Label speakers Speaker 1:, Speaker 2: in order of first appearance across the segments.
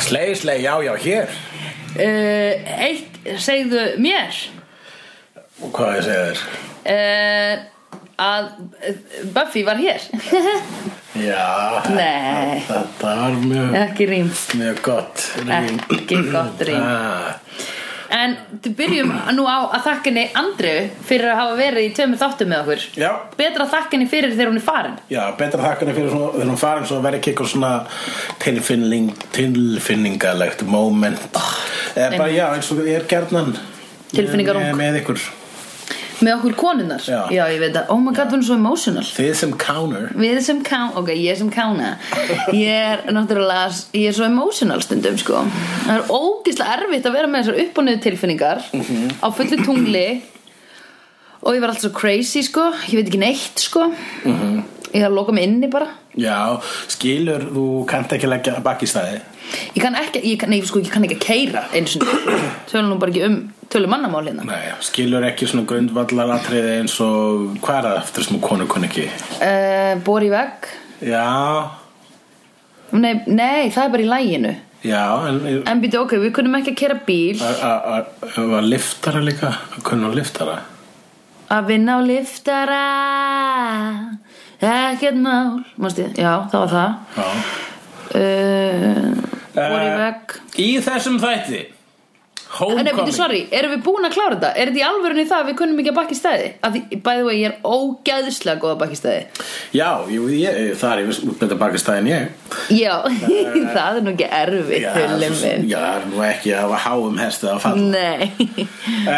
Speaker 1: Slei, slei, já, já, hér
Speaker 2: uh, Eitt segðu mér
Speaker 1: Og hvað ég segja þér?
Speaker 2: uh, að eh, Buffy var hér
Speaker 1: Já,
Speaker 2: Nei. Eh.
Speaker 1: þetta var mjög,
Speaker 2: Ekki rým
Speaker 1: mjög gott rím.
Speaker 2: Ekki gott rím.
Speaker 1: Ah,
Speaker 2: En þú byrjum nú á að þakkinni Andreu fyrir að hafa verið í tveimur þáttum með okkur
Speaker 1: Já,
Speaker 2: Betra þakkinni fyrir þegar hún er farin
Speaker 1: já, betra þakkanir fyrir svona, þegar hún farin svo verið ekki eitthvað svona tilfinning, tilfinningalegt moment
Speaker 2: Ah.
Speaker 1: Eða bara, já, eins og ég er gerðnan
Speaker 2: Tilfinningarung.
Speaker 1: með, með ykkur
Speaker 2: Með okkur konunnar
Speaker 1: Já.
Speaker 2: ég veit að, oh my god, hún er svo emotional
Speaker 1: Þið sem counter
Speaker 2: Við sem kán, ok, ég sem kána Ég er náttúrulega, ég er svo emotional stundum sko Það er ógislega erfitt að vera með þessar upp og niður tilfinningar Á fullu tungli Og ég var alltaf svo crazy sko Ég veit ekki neitt sko Ég þarf að loka mig inni bara
Speaker 1: Já, skilur, þú kannt ekki leggja bakk í staði
Speaker 2: Ég kann ekki, ég kann, nei, sko, ég kann ekki að keira eins og tölum nú bara ekki um tölum mannamál hérna
Speaker 1: Nei, skilur ekki svona grundvallar atriði eins og hvað er það eftir sem hún konu kunni ekki
Speaker 2: uh, Bor í vegg
Speaker 1: Já,
Speaker 2: nei, nei, það er bara í læginu
Speaker 1: já, en
Speaker 2: En býti, ok, við kunnum ekki að kera bíl
Speaker 1: A- a- a- var liftara líka kunnu liftara
Speaker 2: Að vinna á liftara Ekkert mál Mástu, já, það var það
Speaker 1: Já.
Speaker 2: uh, Bor í
Speaker 1: Eh,
Speaker 2: vegg
Speaker 1: í þessum þætti
Speaker 2: En Nei, býtu,
Speaker 1: homecoming
Speaker 2: sorry, erum við búin að klára þetta? Er þetta í alvörunni það að við kunnum ekki að bakki stæði? Að því, by the way, ég er ógæðslega góð að bakki stæði
Speaker 1: já, jú, ég, það er yfir útbyrta bakistæðin ég
Speaker 2: Já, það er nú ekki erfitt,
Speaker 1: já,
Speaker 2: hulum
Speaker 1: svo-
Speaker 2: minn
Speaker 1: já, það er nú ekki að hafa um háum hestið að falla
Speaker 2: Nei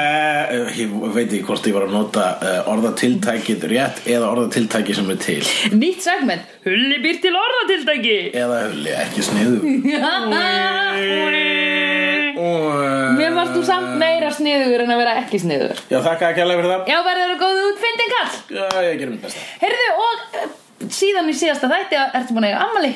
Speaker 1: uh, ég veit ekki hvort ég var að nota uh, orðatiltækið rétt eða orðatiltækið sem er til
Speaker 2: Nýtt segment, hulli býr til orðatiltæki
Speaker 1: eða hulli, ekki sniðu
Speaker 2: Mér varst þú samt meira sniður en að vera ekki sniður
Speaker 1: Eh, já, þakka ekki alveg fyrir það
Speaker 2: Já, verður þú góð út, fyndin kall
Speaker 1: já, ég gerum þetta
Speaker 2: Heyrðu, og eh, síðan í síðasta þætti ertu búin að eiga ammali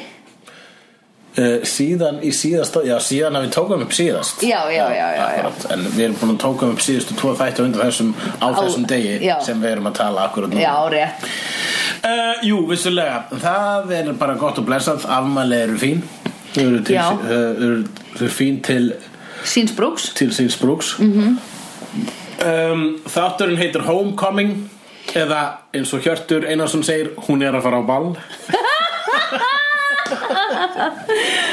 Speaker 1: Uh, síðan í síðasta já, síðan að við tókum upp síðast
Speaker 2: Já, já, já, já, já.
Speaker 1: Akkurat. en við erum búin að tóka upp síðustu tvo þætti á undan þessum á þessum degi
Speaker 2: já.
Speaker 1: sem við erum að tala akkurat nú
Speaker 2: Já, rétt
Speaker 1: uh, jú, vissulega, það er bara gott og blessað, afmæli eru fín þau eru, til,
Speaker 2: Já.
Speaker 1: uh, eru, þau eru fín til,
Speaker 2: Síns brúks
Speaker 1: til síns brúks
Speaker 2: Mhm.
Speaker 1: -hmm. um, þátturinn heitir Homecoming eða eins og Hjörtur Einarsson segir hún er að fara á ball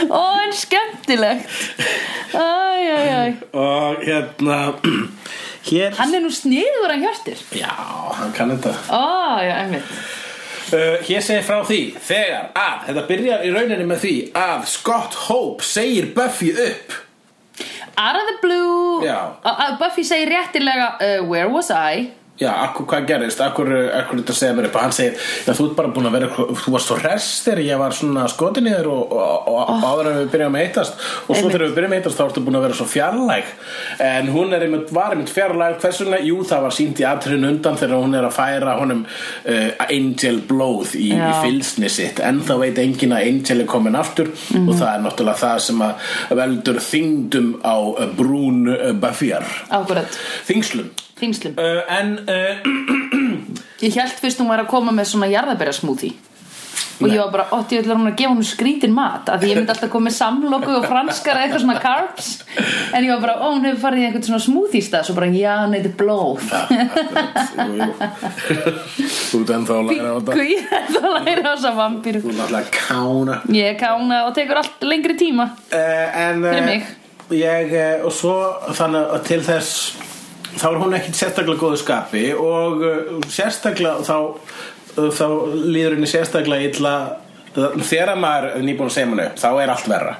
Speaker 2: Ó, en skemmtilegt Æ, æ, æ
Speaker 1: og hérna hér
Speaker 2: Hann er nú sniður að hjörtir
Speaker 1: já, hann kann þetta
Speaker 2: Ó, já, einmitt
Speaker 1: Uh, hér segir frá því þegar að þetta byrjar í rauninni með því að Scott Hope segir Buffy upp
Speaker 2: Out of the blue
Speaker 1: Já.
Speaker 2: Að- að Buffy segir réttilega uh, Where was I?
Speaker 1: já, akkur, hvað gerðist, akkur, akkur þetta segir mér upp og hann segir, já, þú ert bara búin að vera þú varst svo hress þegar ég var svona skotin í þér og, og, og oh. áður en við byrjum að eitast og svo
Speaker 2: Einmitt.
Speaker 1: þegar við byrjum að eitast þá ertu búin að vera svo fjarlæg en hún er einmitt, var einmitt fjarlæg hversuna, jú, það var sínt í atriðin undan þegar hún er að færa honum uh, Angel blóð í, í
Speaker 2: Já.
Speaker 1: fylg pilsni sitt en þá veit enginn að Angel er komin aftur
Speaker 2: Mhm.
Speaker 1: og það er náttúrulega það sem að veldur þyngdum á uh, brún uh, Buffyar
Speaker 2: Akkurat,
Speaker 1: þingslum
Speaker 2: þingslum
Speaker 1: uh, en uh,
Speaker 2: Ég held fyrst hún var að koma með svona jarðabæra smoothie Og ég var bara, ótti, ég ætla hún að gefa hún skrítin mat Af því ég myndi alltaf koma með samloku og franskar eða eitthvað svona carbs En ég var bara, ó, hún hefur farið í einhvern svona smoothie stað Svo bara, já, hann heitir blóð
Speaker 1: jú, jú. þú ert ennþá að læra á þetta
Speaker 2: Guð, ég ætla að læra þessa vampíru
Speaker 1: þú ert alltaf að kána
Speaker 2: Ég kána og tekur allt lengri tíma
Speaker 1: uh, en
Speaker 2: Fyrir mig.
Speaker 1: ég, uh, og svo þannig að til þess þá er hún ekkit sérstaklega góðu skapi og uh, sérstaklega þá, uh, þá líður henni sérstaklega illa þegar maður er nýbúin að segja henni upp þá er allt verra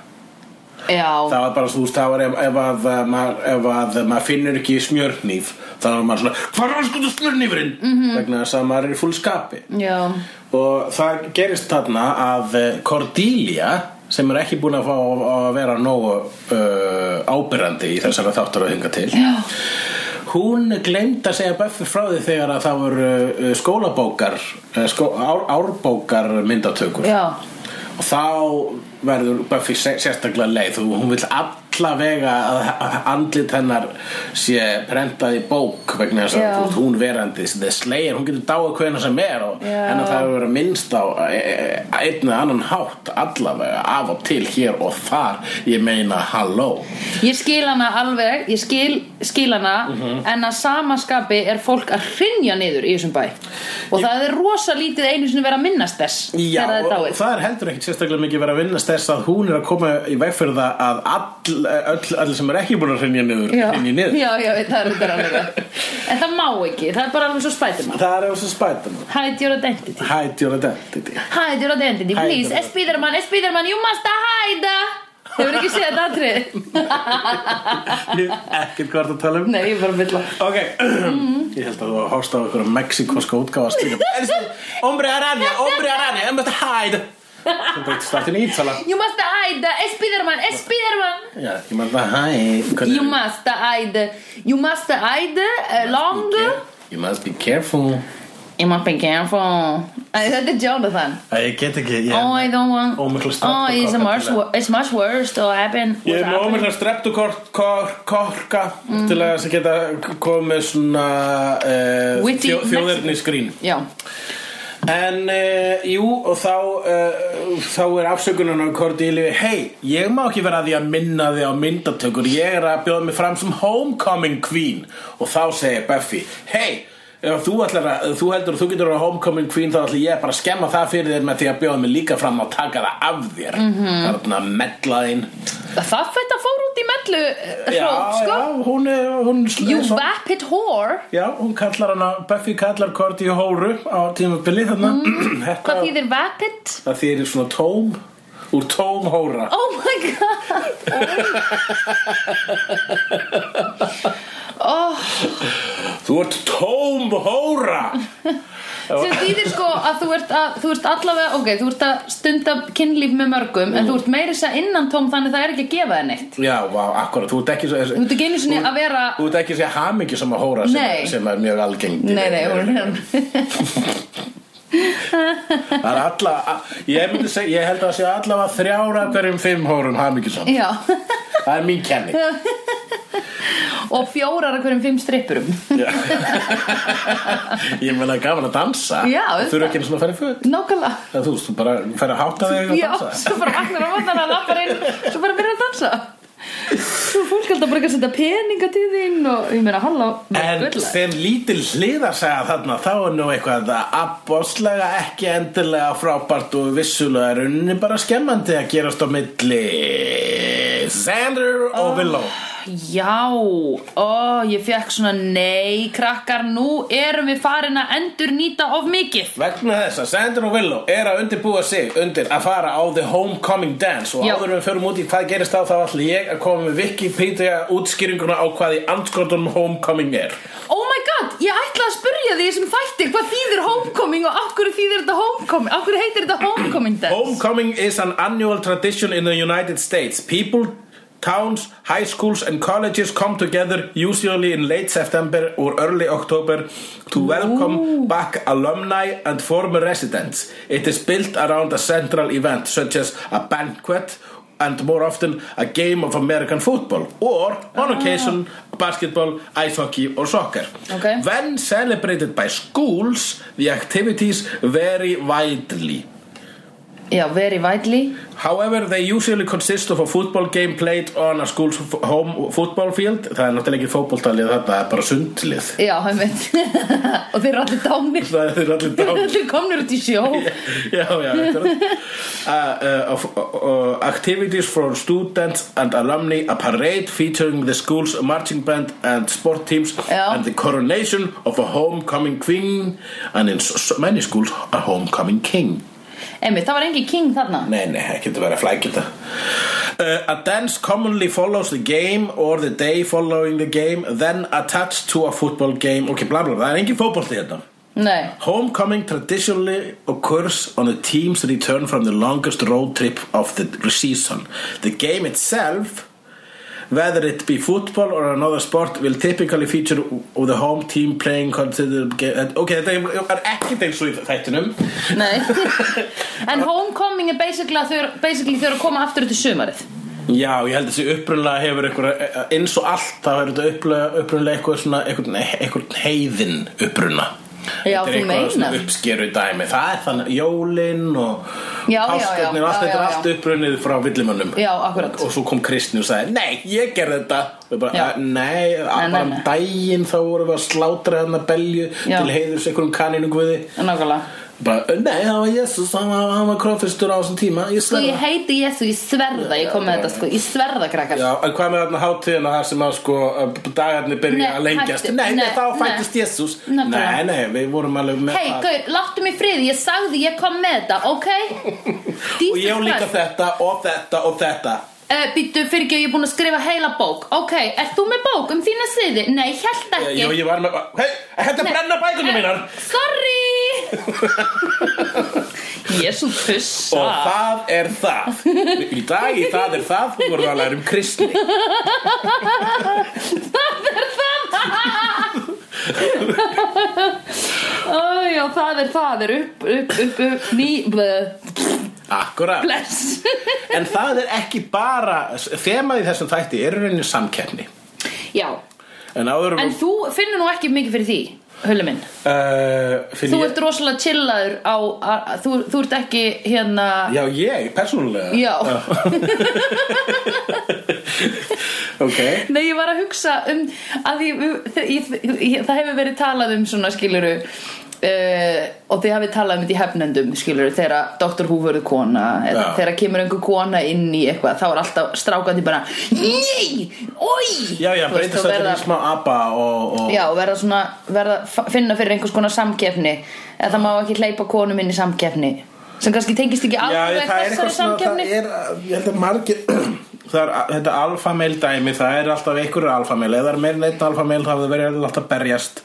Speaker 2: Já,
Speaker 1: það var bara, þú veist, það var ef, ef, að, uh, maður, ef að maður finnur ekki smjörnýf þá er maður svona, hvað er skoðu smjörnýfurinn
Speaker 2: Mhm.
Speaker 1: -hmm. vegna þess að maður er í full skapi
Speaker 2: já,
Speaker 1: og það gerist þarna að eh, Cordelia sem er ekki búin að fá að að vera nógu uh, ábyrrandi í þessara þáttur að hinga til
Speaker 2: já
Speaker 1: hún glemt að segja Buffy frá því þegar að það voru uh, skólabókar eh, skó, ár, árbókar myndatökur
Speaker 2: Já,
Speaker 1: og þá verður Buffy sé- sérstaklega leið og hún vil all alla vega að að andlit hennar sé prentað í bók vegna þess að
Speaker 2: Já.
Speaker 1: þú veist, hún verandi the slayer, hún getur dáið hvernig sem er og
Speaker 2: Já.
Speaker 1: hennar það hefur verið minnst á e, e, einn eða annan hátt allavega af og til hér og þar ég meina halló
Speaker 2: Ég skil hana alveg, ég skil, skil hana
Speaker 1: Mhm.
Speaker 2: en að samaskapi er fólk að hrinja niður í þessum bæ og það er rosa lítið einu sinni verið að minnast þess
Speaker 1: Já,
Speaker 2: þegar það er
Speaker 1: og
Speaker 2: dáið
Speaker 1: það er heldur ekkit sérstaklega mikið verið að vinna þess að hún er að koma í veg fyrir það að all, eh, öll, öll sem er ekki búin að hrynja niður,
Speaker 2: Já,
Speaker 1: hrynja niður.
Speaker 2: já, já, það er þetta alveg En það má ekki, það er bara alveg svo spætum
Speaker 1: Það er eins og spætum
Speaker 2: Hide your identity
Speaker 1: Hide your identity
Speaker 2: Hide your identity,
Speaker 1: Hide
Speaker 2: please
Speaker 1: your-
Speaker 2: Spiderman, Spiderman, you must hide Hefur ekki séð þetta atrið
Speaker 1: Ég hef Ekkert hvað ertu að tala um
Speaker 2: Nei, ég er bara að bylla
Speaker 1: Ok, ég held að þú hóst á einhverjum mexikoska útgáfa stílum Ombre aranja, ombre aranja, ég must hide Sem bara startin í Ítala
Speaker 2: You must hide, Spiderman, Spiderman
Speaker 1: Já, ég must hide Hvernig-
Speaker 2: You must hide You must hide uh, long
Speaker 1: You must be careful
Speaker 2: You must be careful Æ, Þetta er Jonathan
Speaker 1: Æ, Ég get ekki, ég
Speaker 2: Oh, I don't want
Speaker 1: Ómiklu
Speaker 2: Oh,
Speaker 1: streptokokka
Speaker 2: it's much,
Speaker 1: til að-
Speaker 2: wor- it's much worse to happen
Speaker 1: Ég er með ómikla streptukorka
Speaker 2: Mm.
Speaker 1: til að þess að geta komið svona uh,
Speaker 2: Witty
Speaker 1: þjó,
Speaker 2: Mexican.
Speaker 1: þjóðirni skrín
Speaker 2: Já
Speaker 1: En uh, jú, og þá uh, þá er afsökunum á Cordelia Hei, ég má ekki vera að því að minna þig á myndatökur Ég er að bjóða mig fram sem homecoming queen Og þá segir Buffy Hei, ef þú, ætlar að, ef þú heldur að þú getur að vera homecoming queen Þá ætla ég bara að skemma það fyrir þér með því að bjóða mig líka fram að taka það af þér mm
Speaker 2: Mhm.
Speaker 1: -hmm. Þarna mellaðinn
Speaker 2: Það þetta fór út í mellu eh,
Speaker 1: Já,
Speaker 2: hróp, sko
Speaker 1: já, hún er, hún er
Speaker 2: You
Speaker 1: svo-
Speaker 2: vapid whore
Speaker 1: Já, hún kallar hana, Buffy kallar Cordy hóru á tímabili þarna Þetta-
Speaker 2: Mhm. Hvað þýðir vapid?
Speaker 1: Það þýðir svona tóm Úr tóm hóra
Speaker 2: Oh my god Oh, oh.
Speaker 1: Þú ert tóm hóra
Speaker 2: sem þýðir sko að þú ert, að, þú ert allavega, ok, þú ert að stunda kynlíf með mörgum en þú ert meiri þess að innan tóm þannig það er ekki að gefa þér neitt
Speaker 1: Já, vá, akkurat, þú ert ekki svo
Speaker 2: þú ert ekki einu sinni að vera
Speaker 1: Þú ert ekki sér hamingi sem að hóra sem,
Speaker 2: Nei.
Speaker 1: sem er mjög algengt í-
Speaker 2: nei, nei, hún er hérna.
Speaker 1: Það er alla, ég, myndi seg, ég held að sé allavega þrjára hverjum fimm hórum hamingi saman
Speaker 2: já,
Speaker 1: Það er mín kenning
Speaker 2: og fjórar af hverjum fimm strippurum
Speaker 1: Já. Ég meina gaman að dansa
Speaker 2: Já,
Speaker 1: Þú eru ekki einu svona að fara í föt
Speaker 2: nákvæmlega
Speaker 1: Það þú veist, þú bara fer að háta þig og
Speaker 2: já,
Speaker 1: dansa
Speaker 2: svo bara vaknar á vatnar að lappar inn svo bara byrjar að dansa svo er fólk alltaf bara ekki að setja peninga til þín og ég meina halló
Speaker 1: En
Speaker 2: gull.
Speaker 1: sem lítil hliðarsaga þarna þá er nú eitthvað að abbáslega ekki endilega frábært og vissulega er unni bara skemmandi að gerast á milli Xander og Willow
Speaker 2: Já, ó, ég fekk svona Nei, krakkar, nú erum við farin að endur nýta of mikið
Speaker 1: Vegna þess að Xander og Willow er að undirbúa sig undir að fara á The Homecoming Dance og
Speaker 2: Já.
Speaker 1: áður en við förum út í hvað gerist þá þá ætla ég að koma með Wikipedia útskýringuna á hvað í andskotunum Homecoming er
Speaker 2: Oh my god, ég ætla að spurja því sem þætti Hvað þýðir homecoming og af hverju þýðir þetta homecoming Af hverju heitir þetta homecoming dance
Speaker 1: Homecoming is an annual tradition in the United States. People, towns, high schools, and colleges come together usually in late September or early October to welcome back alumni and former residents. It is built around a central event such as a banquet and more often a game of American football or on occasion basketball, ice hockey or soccer.
Speaker 2: Okay.
Speaker 1: When celebrated by schools, the activities vary widely.
Speaker 2: Já, very widely
Speaker 1: However, they usually consist of a football game played on a school's f- home football field. Það er náttúrulega ekki fótboltalið þetta, það er bara sundlið.
Speaker 2: Já, heimitt Og þeir eru allir dánir
Speaker 1: Það er allir
Speaker 2: Þeir eru
Speaker 1: dám.
Speaker 2: allir komnir út í sjó
Speaker 1: Já, já. þetta er- Uh, uh, of- uh, activities for students and alumni, a parade featuring the school's marching band and sport teams
Speaker 2: Já.
Speaker 1: and the coronation of a homecoming queen and in so so many schools a homecoming king.
Speaker 2: Einmitt, það var engi king þarna
Speaker 1: Nei, nei, það getur verið að flækja þetta. Uh, a dance commonly follows the game or the day following the game then attached to a football game ok, bla bla, bla, það er engin fótbolti hérna
Speaker 2: Nei,
Speaker 1: Homecoming traditionally occurs on the team's return from the longest road trip of the season The game itself Whether it be football or another sport will typically feature the home team playing considered game. Ok, þetta er ekkert eins og í þættinum.
Speaker 2: nei En homecoming er basically að þau eru- basically þau eru að koma aftur út í sumarið
Speaker 1: Já, ég held að þessi upprunlega hefur einhver, e, eins og allt þá er þetta upprunlega, upprunlega eitthvað svona einhvern, einhvern heiðin uppruna
Speaker 2: Já,
Speaker 1: Þetta er
Speaker 2: þú
Speaker 1: eitthvað svona
Speaker 2: meinar.
Speaker 1: uppskeru dæmi Það er þannig jólin og
Speaker 2: Já, já, já,
Speaker 1: páskarnir,
Speaker 2: já,
Speaker 1: allt þetta er
Speaker 2: já, já.
Speaker 1: allt upprunnið frá villimönnum
Speaker 2: Já, akkurat.
Speaker 1: og, og svo kom Kristni og sagði, nei, ég gerði þetta Og ég bara,
Speaker 2: Já.
Speaker 1: "Eh, Nei,
Speaker 2: Nei,
Speaker 1: að bara
Speaker 2: nei, nei.
Speaker 1: um daginn þá vorum við að slátra hann að belju
Speaker 2: Já.
Speaker 1: til heiðurs einhverjum kaninu guði
Speaker 2: Nákvæmlega
Speaker 1: bara, "Eh, Nei, það var Jesus, hann var, hann var krófistur á þessum tíma Ég
Speaker 2: Sko
Speaker 1: sverða
Speaker 2: ég heiti Jésu, ég sverða, ég kom með þetta sko Ég sverða krakkar
Speaker 1: Já, en hvað með þarna hátíðina þar sem að sko að dagarnir byrja
Speaker 2: Nei,
Speaker 1: að lengjast
Speaker 2: hættu.
Speaker 1: nei, nei,
Speaker 2: Nei,
Speaker 1: þá
Speaker 2: nei.
Speaker 1: fættist Jésús Nei,
Speaker 2: Nákvæmlega.
Speaker 1: nei, við vorum alveg með
Speaker 2: Hei,
Speaker 1: það.
Speaker 2: Gaur, láttu mig í friði, ég sagði ég kom með þetta, ok?
Speaker 1: Og ég á líka þetta og þetta og þetta
Speaker 2: uh, Býttu, fyrir ekki, ég er búin að skrifa heila bók Ok, ert þú með bók um þína siði? Nei, held ekki
Speaker 1: Jó, ég var með, hei, þetta
Speaker 2: Nei.
Speaker 1: brenna bækunum mínar
Speaker 2: Eh, Sorry Jésu pussa
Speaker 1: Og það er það Í dag í það er það, þú vorum að læra um kristni
Speaker 2: Æjá, það er, það er upp, upp, upp, upp Ný, bleh,
Speaker 1: Akkurat
Speaker 2: bless
Speaker 1: En það er ekki bara Þemað í þessum þætti er í rauninni samkeppni
Speaker 2: Já,
Speaker 1: En áður
Speaker 2: en þú finnur nú ekki mikið fyrir því Hulli minn,
Speaker 1: uh, finn
Speaker 2: þú
Speaker 1: ég-
Speaker 2: ert rosalega chillaður á, a, a, þú, þú ert ekki hérna
Speaker 1: Já, ég, persónulega
Speaker 2: Já.
Speaker 1: Ok
Speaker 2: Nei, ég var að hugsa um að ég, ég, ég, það hefur verið talað um svona skiluru uh, og þið hafið talað um þetta í hefnendum skiluru þegar að Dr. Who verður kona eða
Speaker 1: Já.
Speaker 2: þegar kemur einhver kona inn í eitthvað þá er alltaf strákandi bara Nei, oi
Speaker 1: Já, já,
Speaker 2: Þú veist,
Speaker 1: breytist
Speaker 2: og
Speaker 1: þetta
Speaker 2: verða-
Speaker 1: í smá apa og, og
Speaker 2: Já, og verða svona, verða f- finna fyrir einhvers konar samkeppni eða það má ekki hleypa konum inn í samkeppni sem kannski tengist ekki
Speaker 1: Já,
Speaker 2: alveg
Speaker 1: það er eitthvað
Speaker 2: þessari
Speaker 1: svona, það
Speaker 2: samkeppni
Speaker 1: er, ég held að margir, það er, þetta alfameil dæmi, það er alltaf einhverju alfameil, ef það er meira en einn alfameil þá það verður alltaf að berjast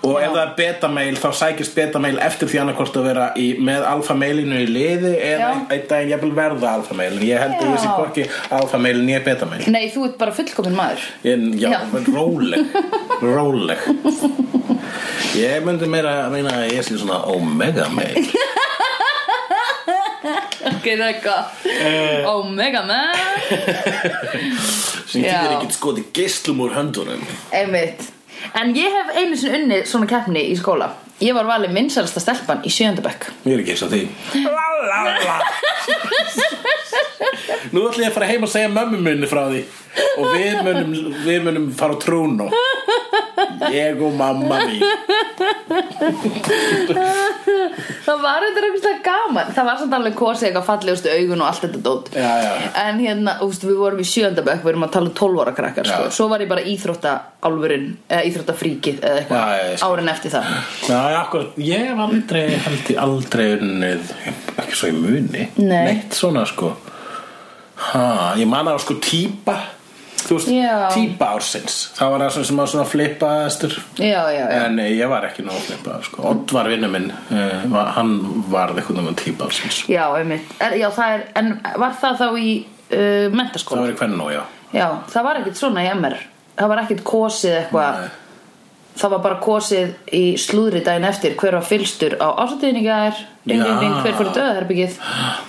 Speaker 1: og
Speaker 2: Já.
Speaker 1: ef það er betameil þá sækist betameil eftir því annarkvort að vera í, með alfameilinu í liði eða
Speaker 2: Já.
Speaker 1: einn ein daginn jafnvel verða alfameil, en ég held að ég sé
Speaker 2: Já.
Speaker 1: hvorki alfameil nýja betameil.
Speaker 2: Nei, þú ert bara fullkomin maður
Speaker 1: En, já,
Speaker 2: Já.
Speaker 1: menn róleg Róleg Ég myndi meira að meina að ég sé svona Omega meil
Speaker 2: Ok, það er gott
Speaker 1: Eh.
Speaker 2: Omega man
Speaker 1: sem
Speaker 2: Já.
Speaker 1: getur ekkert skoti geislum úr höndunum
Speaker 2: Einmitt En ég hef einu sinni unnið svona keppni í skóla Ég var valið minnsalasta stelpan í sjöndabökk
Speaker 1: Mér er ekki eins og því la, la, la. Nú ætlum ég að fara heim og segja mömmu minni frá því og við munum, við munum fara á trúnu Ég og mamma mín
Speaker 2: Það var þetta eitthvað gaman Það var samt alveg kosið eitthvað fallegustu augun og allt þetta dót
Speaker 1: Já, já.
Speaker 2: En hérna, úst, við vorum í sjöndabökk Við erum að tala um 12 ára krakkar sko.
Speaker 1: Já.
Speaker 2: Svo var ég bara íþróttaálfurinn Eða íþróttafríkið eða eitthvað
Speaker 1: Já, já, ég skil.
Speaker 2: Árin eftir það
Speaker 1: Já, akkur, ég hef aldrei held ég aldrei unnið ekki svo ég muni
Speaker 2: Nei.
Speaker 1: neitt svona sko ha, ég man að sko típa þú veist,
Speaker 2: Já.
Speaker 1: típa ársins það var það svona sem að svona flippaðastur
Speaker 2: Já, já, já
Speaker 1: en eh, ég var ekki nóg flippaðastur sko. Odd var vinnu minn uh, hann varð eitthvað um típa ársins
Speaker 2: Já, einmitt er, já, það er, En var það þá í uh,
Speaker 1: það
Speaker 2: mentaskóla?
Speaker 1: var í hvernig nóg, já
Speaker 2: Já, það var ekkert svona í MR Það var ekkert kosið eitthvað
Speaker 1: Nei.
Speaker 2: Það var bara kosið í slúðri daginn eftir Hver var fylstur á ásatíðinni gær Ring, ring, ring,
Speaker 1: Já.
Speaker 2: hver fór í döðaherbyggið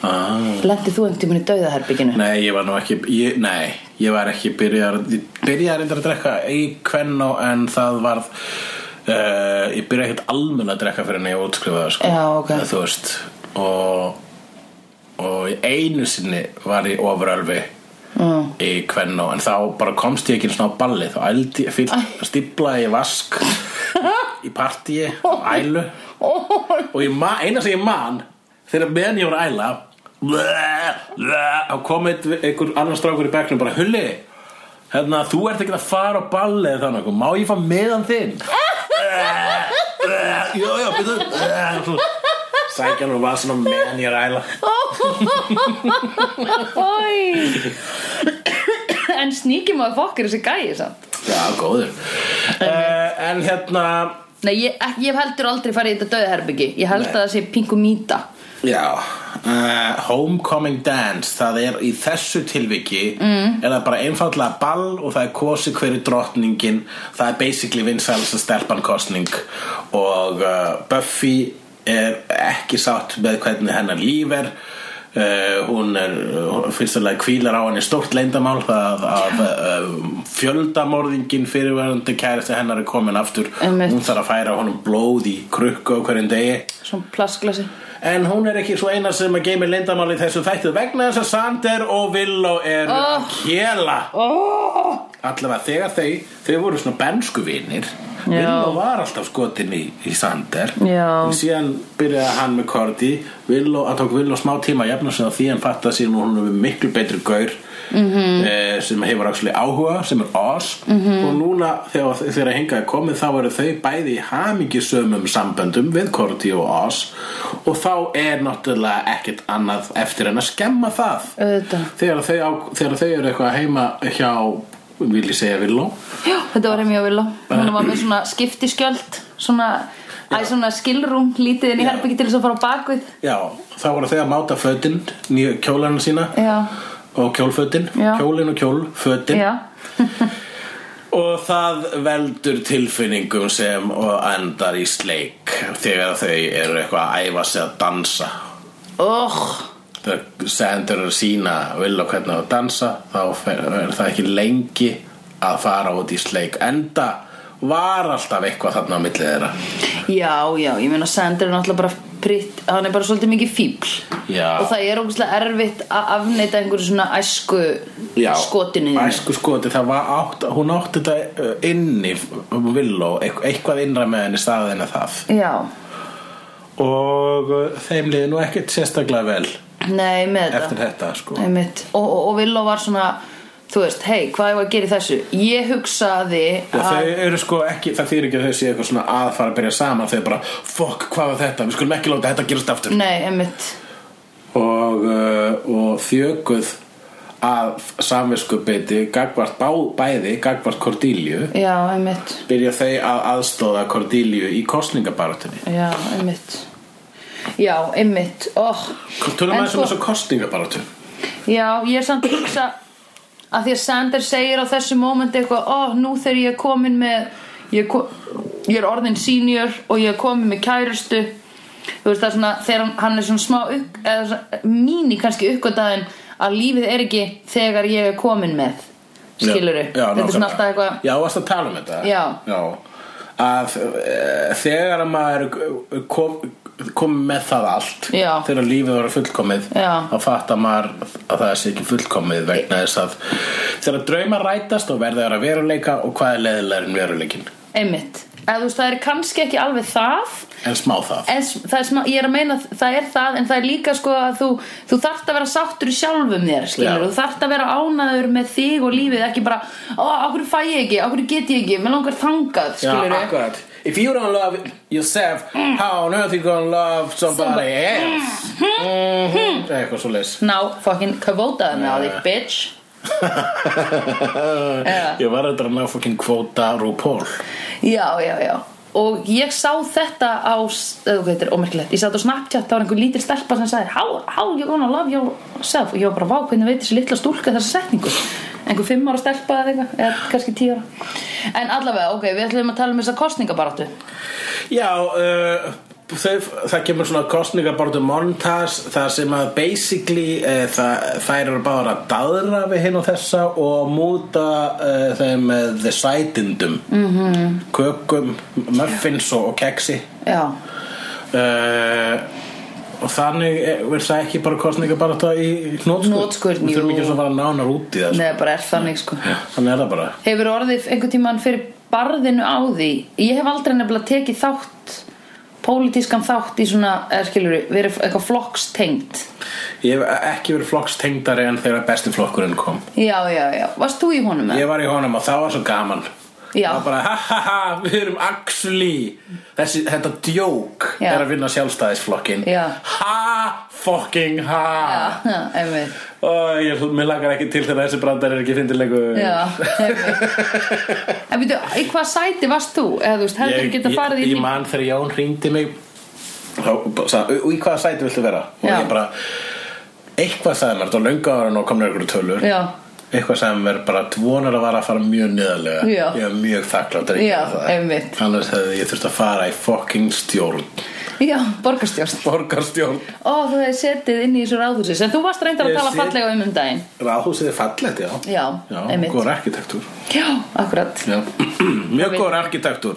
Speaker 1: ah.
Speaker 2: Lendi þú einhvern tímann í döðaherbygginu?
Speaker 1: Nei, ég var nú ekki ég, Nei, ég var ekki byrjar Ég byrjaði reyndar að drekka í kvennó En það varð uh, Ég byrjaði ekkert almenn að drekka fyrir en ég útskrifaði sko.
Speaker 2: Já, ok.
Speaker 1: En Þú veist Og Og í einu sinni var ég ofurölfi mm. Í kvennó En þá bara komst ég ekki svona á balli Þá ældi, fíl, stíplaði ég vask Í partíi á Ælu og ég man, eina sem ég man þegar meðan ég var að æla bleh, bleh, þá kom einn- einhver annar strákur í bekknum bara hulli hérna, þú ert ekki að fara á ballið þannig, má ég fá meðan þinn Bleh, bleh, jú, jú, byrðu sækja nú var svona meðan ég er að æla
Speaker 2: Oj. en sníkjum að fokkir þessi gæi samt
Speaker 1: já, góður uh, en hérna
Speaker 2: Nei, ég, ek- ég hef heldur aldrei farið í þetta döðaherbyggi Ég held
Speaker 1: Nei.
Speaker 2: að það sé pingumíta
Speaker 1: Já, uh, homecoming dance það er í þessu tilviki mm. er það bara einfallega ball og það er kosi hverju drottningin það er basically vinsælsa stelpankostning og uh, Buffy er ekki sátt með hvernig hennar líf er Uh, hún er uh, fyrst og lega kvílar á henni stórt leyndamál að, að uh, fjöldamorðingin fyrirverandi kærasti hennar er komin aftur
Speaker 2: Einmitt.
Speaker 1: hún þarf að færa honum blóð í krukku á hverjum degi
Speaker 2: Svona plasklasi
Speaker 1: en hún er ekki svo eina sem að geimi leyndamál í þessu þættið vegna þess að Sander og Villó er
Speaker 2: Oh.
Speaker 1: að kjela
Speaker 2: oh!
Speaker 1: allavega þegar þau þau voru svona benskuvinir
Speaker 2: Já.
Speaker 1: Villó var alltaf skotin í, í Sander
Speaker 2: Já.
Speaker 1: en síðan byrjaði hann með Korti Villó, að tók Villó smá tíma að jafna sig á því en fatta síðan að hún er með miklu betri gaur -hmm. eh, sem hefur áksli áhuga sem er oss -hmm. og núna þegar, þegar hingað er komið þá eru þau bæði í hamingisömum samböndum við Korti og oss og þá er náttúrulega ekkert annað eftir en að skemma það
Speaker 2: Auðvitað.
Speaker 1: þegar þau, á, þegar þau eru eitthvað heima hjá vil ég segja Villó
Speaker 2: Já, þetta var heim hjá Villó Hún var með svona skiptiskjöld Svona, æ, svona skilrúm Lítið inn í
Speaker 1: Já.
Speaker 2: herbyggi til þess að fara á bakvið
Speaker 1: já, þá voru þau að máta fötin nýju kjólana sína
Speaker 2: Já,
Speaker 1: og kjólfötin,
Speaker 2: Já.
Speaker 1: kjólin og kjólfötin
Speaker 2: já
Speaker 1: og það veldur tilfinningum sem og endar í sleik þegar þau eru eitthvað að æfa sig að dansa
Speaker 2: Oh,
Speaker 1: þegar sendur að sína vilja hvernig á að dansa þá fer- er það ekki lengi að fara út í sleik enda var alltaf eitthvað þarna á milli þeirra
Speaker 2: já, já, ég meina Sander er náttúrulega bara pritt Hann er bara svolítið mikið fíbl
Speaker 1: Já.
Speaker 2: Og það er ógustlega erfitt að afneita einhverju svona æsku
Speaker 1: Já,
Speaker 2: skotinu þínu.
Speaker 1: æsku skoti, það var átt, hún átti þetta uh, inni villó, eitthvað innra með henni staðina það
Speaker 2: Já,
Speaker 1: og uh, þeim liði nú ekkert sérstaklega vel
Speaker 2: nei, með þetta
Speaker 1: eftir þetta sko
Speaker 2: Einmitt. Og, og, og Villó var svona Þú veist, hei, hvað er að gera í þessu? Ég hugsaði
Speaker 1: Já,
Speaker 2: að
Speaker 1: þau eru sko ekki, það þýr ekki að þau séu eitthvað svona að fara að byrja saman þau bara, fokk, hvað var þetta, við skulum ekki láta þetta gerast aftur
Speaker 2: Nei, einmitt
Speaker 1: og, uh, og þjökuð að samviskubiti gagvart bá, bæði, gagvart Cordelia
Speaker 2: Já, einmitt
Speaker 1: byrja þau að aðstóða Cordelia í kostningabaratunni
Speaker 2: Já, einmitt Já, einmitt oh.
Speaker 1: Tölum
Speaker 2: En
Speaker 1: aðeins um
Speaker 2: sko-
Speaker 1: þessu kostningabaratu
Speaker 2: Já, ég er samt að hugsa að því að Sander segir á þessu moment eitthvað, ó, nú þegar ég er komin með ég er, ko ég er orðin senior og ég er komin með kærustu þú veist það er svona þegar hann- hann er svona smá upp, eða svona mín í kannski uppgötaðin að lífið er ekki þegar ég er komin með skiluru,
Speaker 1: Já,
Speaker 2: þetta er svona
Speaker 1: nákvæmlega.
Speaker 2: alltaf eitthvað
Speaker 1: Já, varst að tala um þetta
Speaker 2: Já.
Speaker 1: Að e, þegar að maður kom, kom með það allt
Speaker 2: Já.
Speaker 1: Þegar lífið var fullkomið
Speaker 2: Já.
Speaker 1: Þá fattar maður að það sé ekki fullkomið vegna þess að Þegar draumar rætast og verða að veruleika og hvað er leiðilegur en veruleikin
Speaker 2: einmitt, eða þú veist það er kannski ekki alveg það
Speaker 1: En smá það
Speaker 2: en s- það er smá, ég er að meina að það er það en það er líka sko að þú, þú þarft að vera sáttur í sjálfum þér skilur,
Speaker 1: Já.
Speaker 2: þú þarft að vera ánæður með þig og lífið ekki bara, ó, okkur fæ ég ekki okkur get ég ekki, mér langar þangað skilur,
Speaker 1: akkurat If you don't love yourself How on earth you gonna love somebody else mm -hmm. Eitthvað svo leys
Speaker 2: ná, fucking kavotaði með á þig, bitch Já.
Speaker 1: Ég var eitthvað að ná fokkin kvóta RuPaul
Speaker 2: já, já, já og ég sá þetta á eða hvað þetta er ómerkilegt, ég sá þetta á Snapchat þá var einhver lítil stelpa sem sagði how, how you gonna love yourself og ég var bara vá hvernig veit þessi litla stúlka þessa setningu einhver fimm ára stelpa eða eitthvað eða kannski tíu ára en allavega, ok, við ætlum að tala um þessa kostningabaratu
Speaker 1: Já, uh, þau, það kemur svona kostningabortu montas um þar sem að basically uh, það, þær eru bara að daðra við hinn og þessa og múta uh, þeim með the sætindum
Speaker 2: Mhm.
Speaker 1: -hmm. kökum, muffins og, og keksi
Speaker 2: já,
Speaker 1: uh, og þannig er- verður það ekki bara kostningaborta í hnótskurn
Speaker 2: Hnotskurn,
Speaker 1: Við þurfum
Speaker 2: jú.
Speaker 1: ekki svona að fara nánar út í það sko.
Speaker 2: neða bara er þannig sko
Speaker 1: Þannig er það bara
Speaker 2: hefur orðið einhvern tímann fyrir barðinu á því ég hef aldrei nefnilega tekið þátt pólitískan þátt í svona eða skilur verið eitthvað flokkstengt
Speaker 1: Ég hef ekki verið flokkstengdari en þegar besti flokkurinn kom
Speaker 2: já, já, já, varst þú í honum eða?
Speaker 1: Ég var í honum og það var svo gaman
Speaker 2: Já.
Speaker 1: Það var bara ha ha ha, við erum actually Þessi, þetta djók
Speaker 2: Já.
Speaker 1: er að vinna sjálfstæðisflokkin
Speaker 2: Já.
Speaker 1: Ha, fucking ha
Speaker 2: Já, einmitt
Speaker 1: Og ég, mér lagar ekki til þegar þessi brandar er ekki fyndilegu
Speaker 2: Já, einmitt En veitu, í hvað sæti varst þú? Eða þú veist, heldur þú geta farið í
Speaker 1: ég, ég man þegar Jón hringdi mig þá bara sagði, "Í- í hvaða sæti viltu vera? Og
Speaker 2: Já.
Speaker 1: ég bara, eitthvað sagði mér, þetta var löngu ára og komna ykkur tölur
Speaker 2: Já,
Speaker 1: eitthvað sem er bara dvonar að vara að fara mjög niðarlega
Speaker 2: Já.
Speaker 1: ég er mjög þakklátt að ég
Speaker 2: Já,
Speaker 1: gerði það
Speaker 2: einmitt.
Speaker 1: annars hefði ég þurft að fara í fucking stjórn
Speaker 2: Já, borgarstjórn
Speaker 1: borgarstjórn
Speaker 2: Ó, þú hefði setið inn í þessu ráðhúsi sem þú varst reyndar
Speaker 1: Ég
Speaker 2: að tala
Speaker 1: sit-
Speaker 2: fallega um um daginn
Speaker 1: ráðhúsið er fallegt, já
Speaker 2: Já,
Speaker 1: já
Speaker 2: einmitt
Speaker 1: góður arkitektúr
Speaker 2: Já, akkurat
Speaker 1: já. mjög góður arkitektúr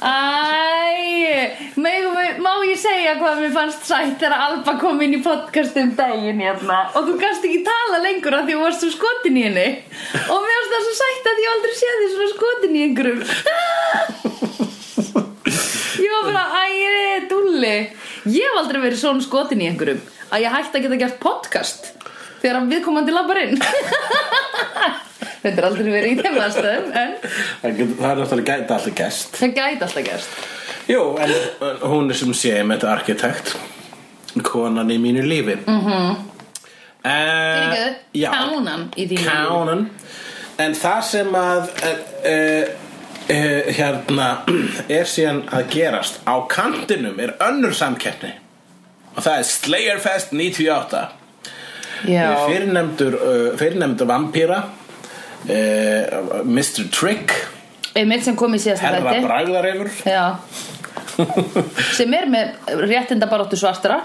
Speaker 2: Æ, megum við, má ég segja hvað mér fannst sætt þegar Alba kom inn í podcast um daginn hérna og þú gast ekki tala lengur af því þú varst svo skotin í henni og mér varst það svo sætt að ég hef aldrei séð því svona skotin í einhverjum Ég var bara, æ, ég er dúlli Ég hef aldrei verið svona skotin í einhverjum að ég hætti að geta gert podcast þegar að viðkomandi labbar inn Þetta er aldrei verið í þeim aðstöðum en
Speaker 1: það getur- það er náttúrulega gæta alltaf gest
Speaker 2: það gæti alltaf gerst
Speaker 1: jú, en uh, hún er sem sé með þetta arkitekt konan í mínu lífi mm -hmm.
Speaker 2: Fyrirgefðu,
Speaker 1: Eh, já,
Speaker 2: Kánan í þínu lífi.
Speaker 1: Kánan En það sem að e, e, hérna er síðan að gerast á kantinum er önnur samkeppni og það er Slayerfest 98
Speaker 2: Já.
Speaker 1: fyrirnefndur, uh, fyrirnefndur vampíra uh, Mr. Trick
Speaker 2: einmitt sem kom í síðasta
Speaker 1: Herra
Speaker 2: þætti
Speaker 1: Bragðarefur
Speaker 2: Já. sem er með réttinda baróttu svartra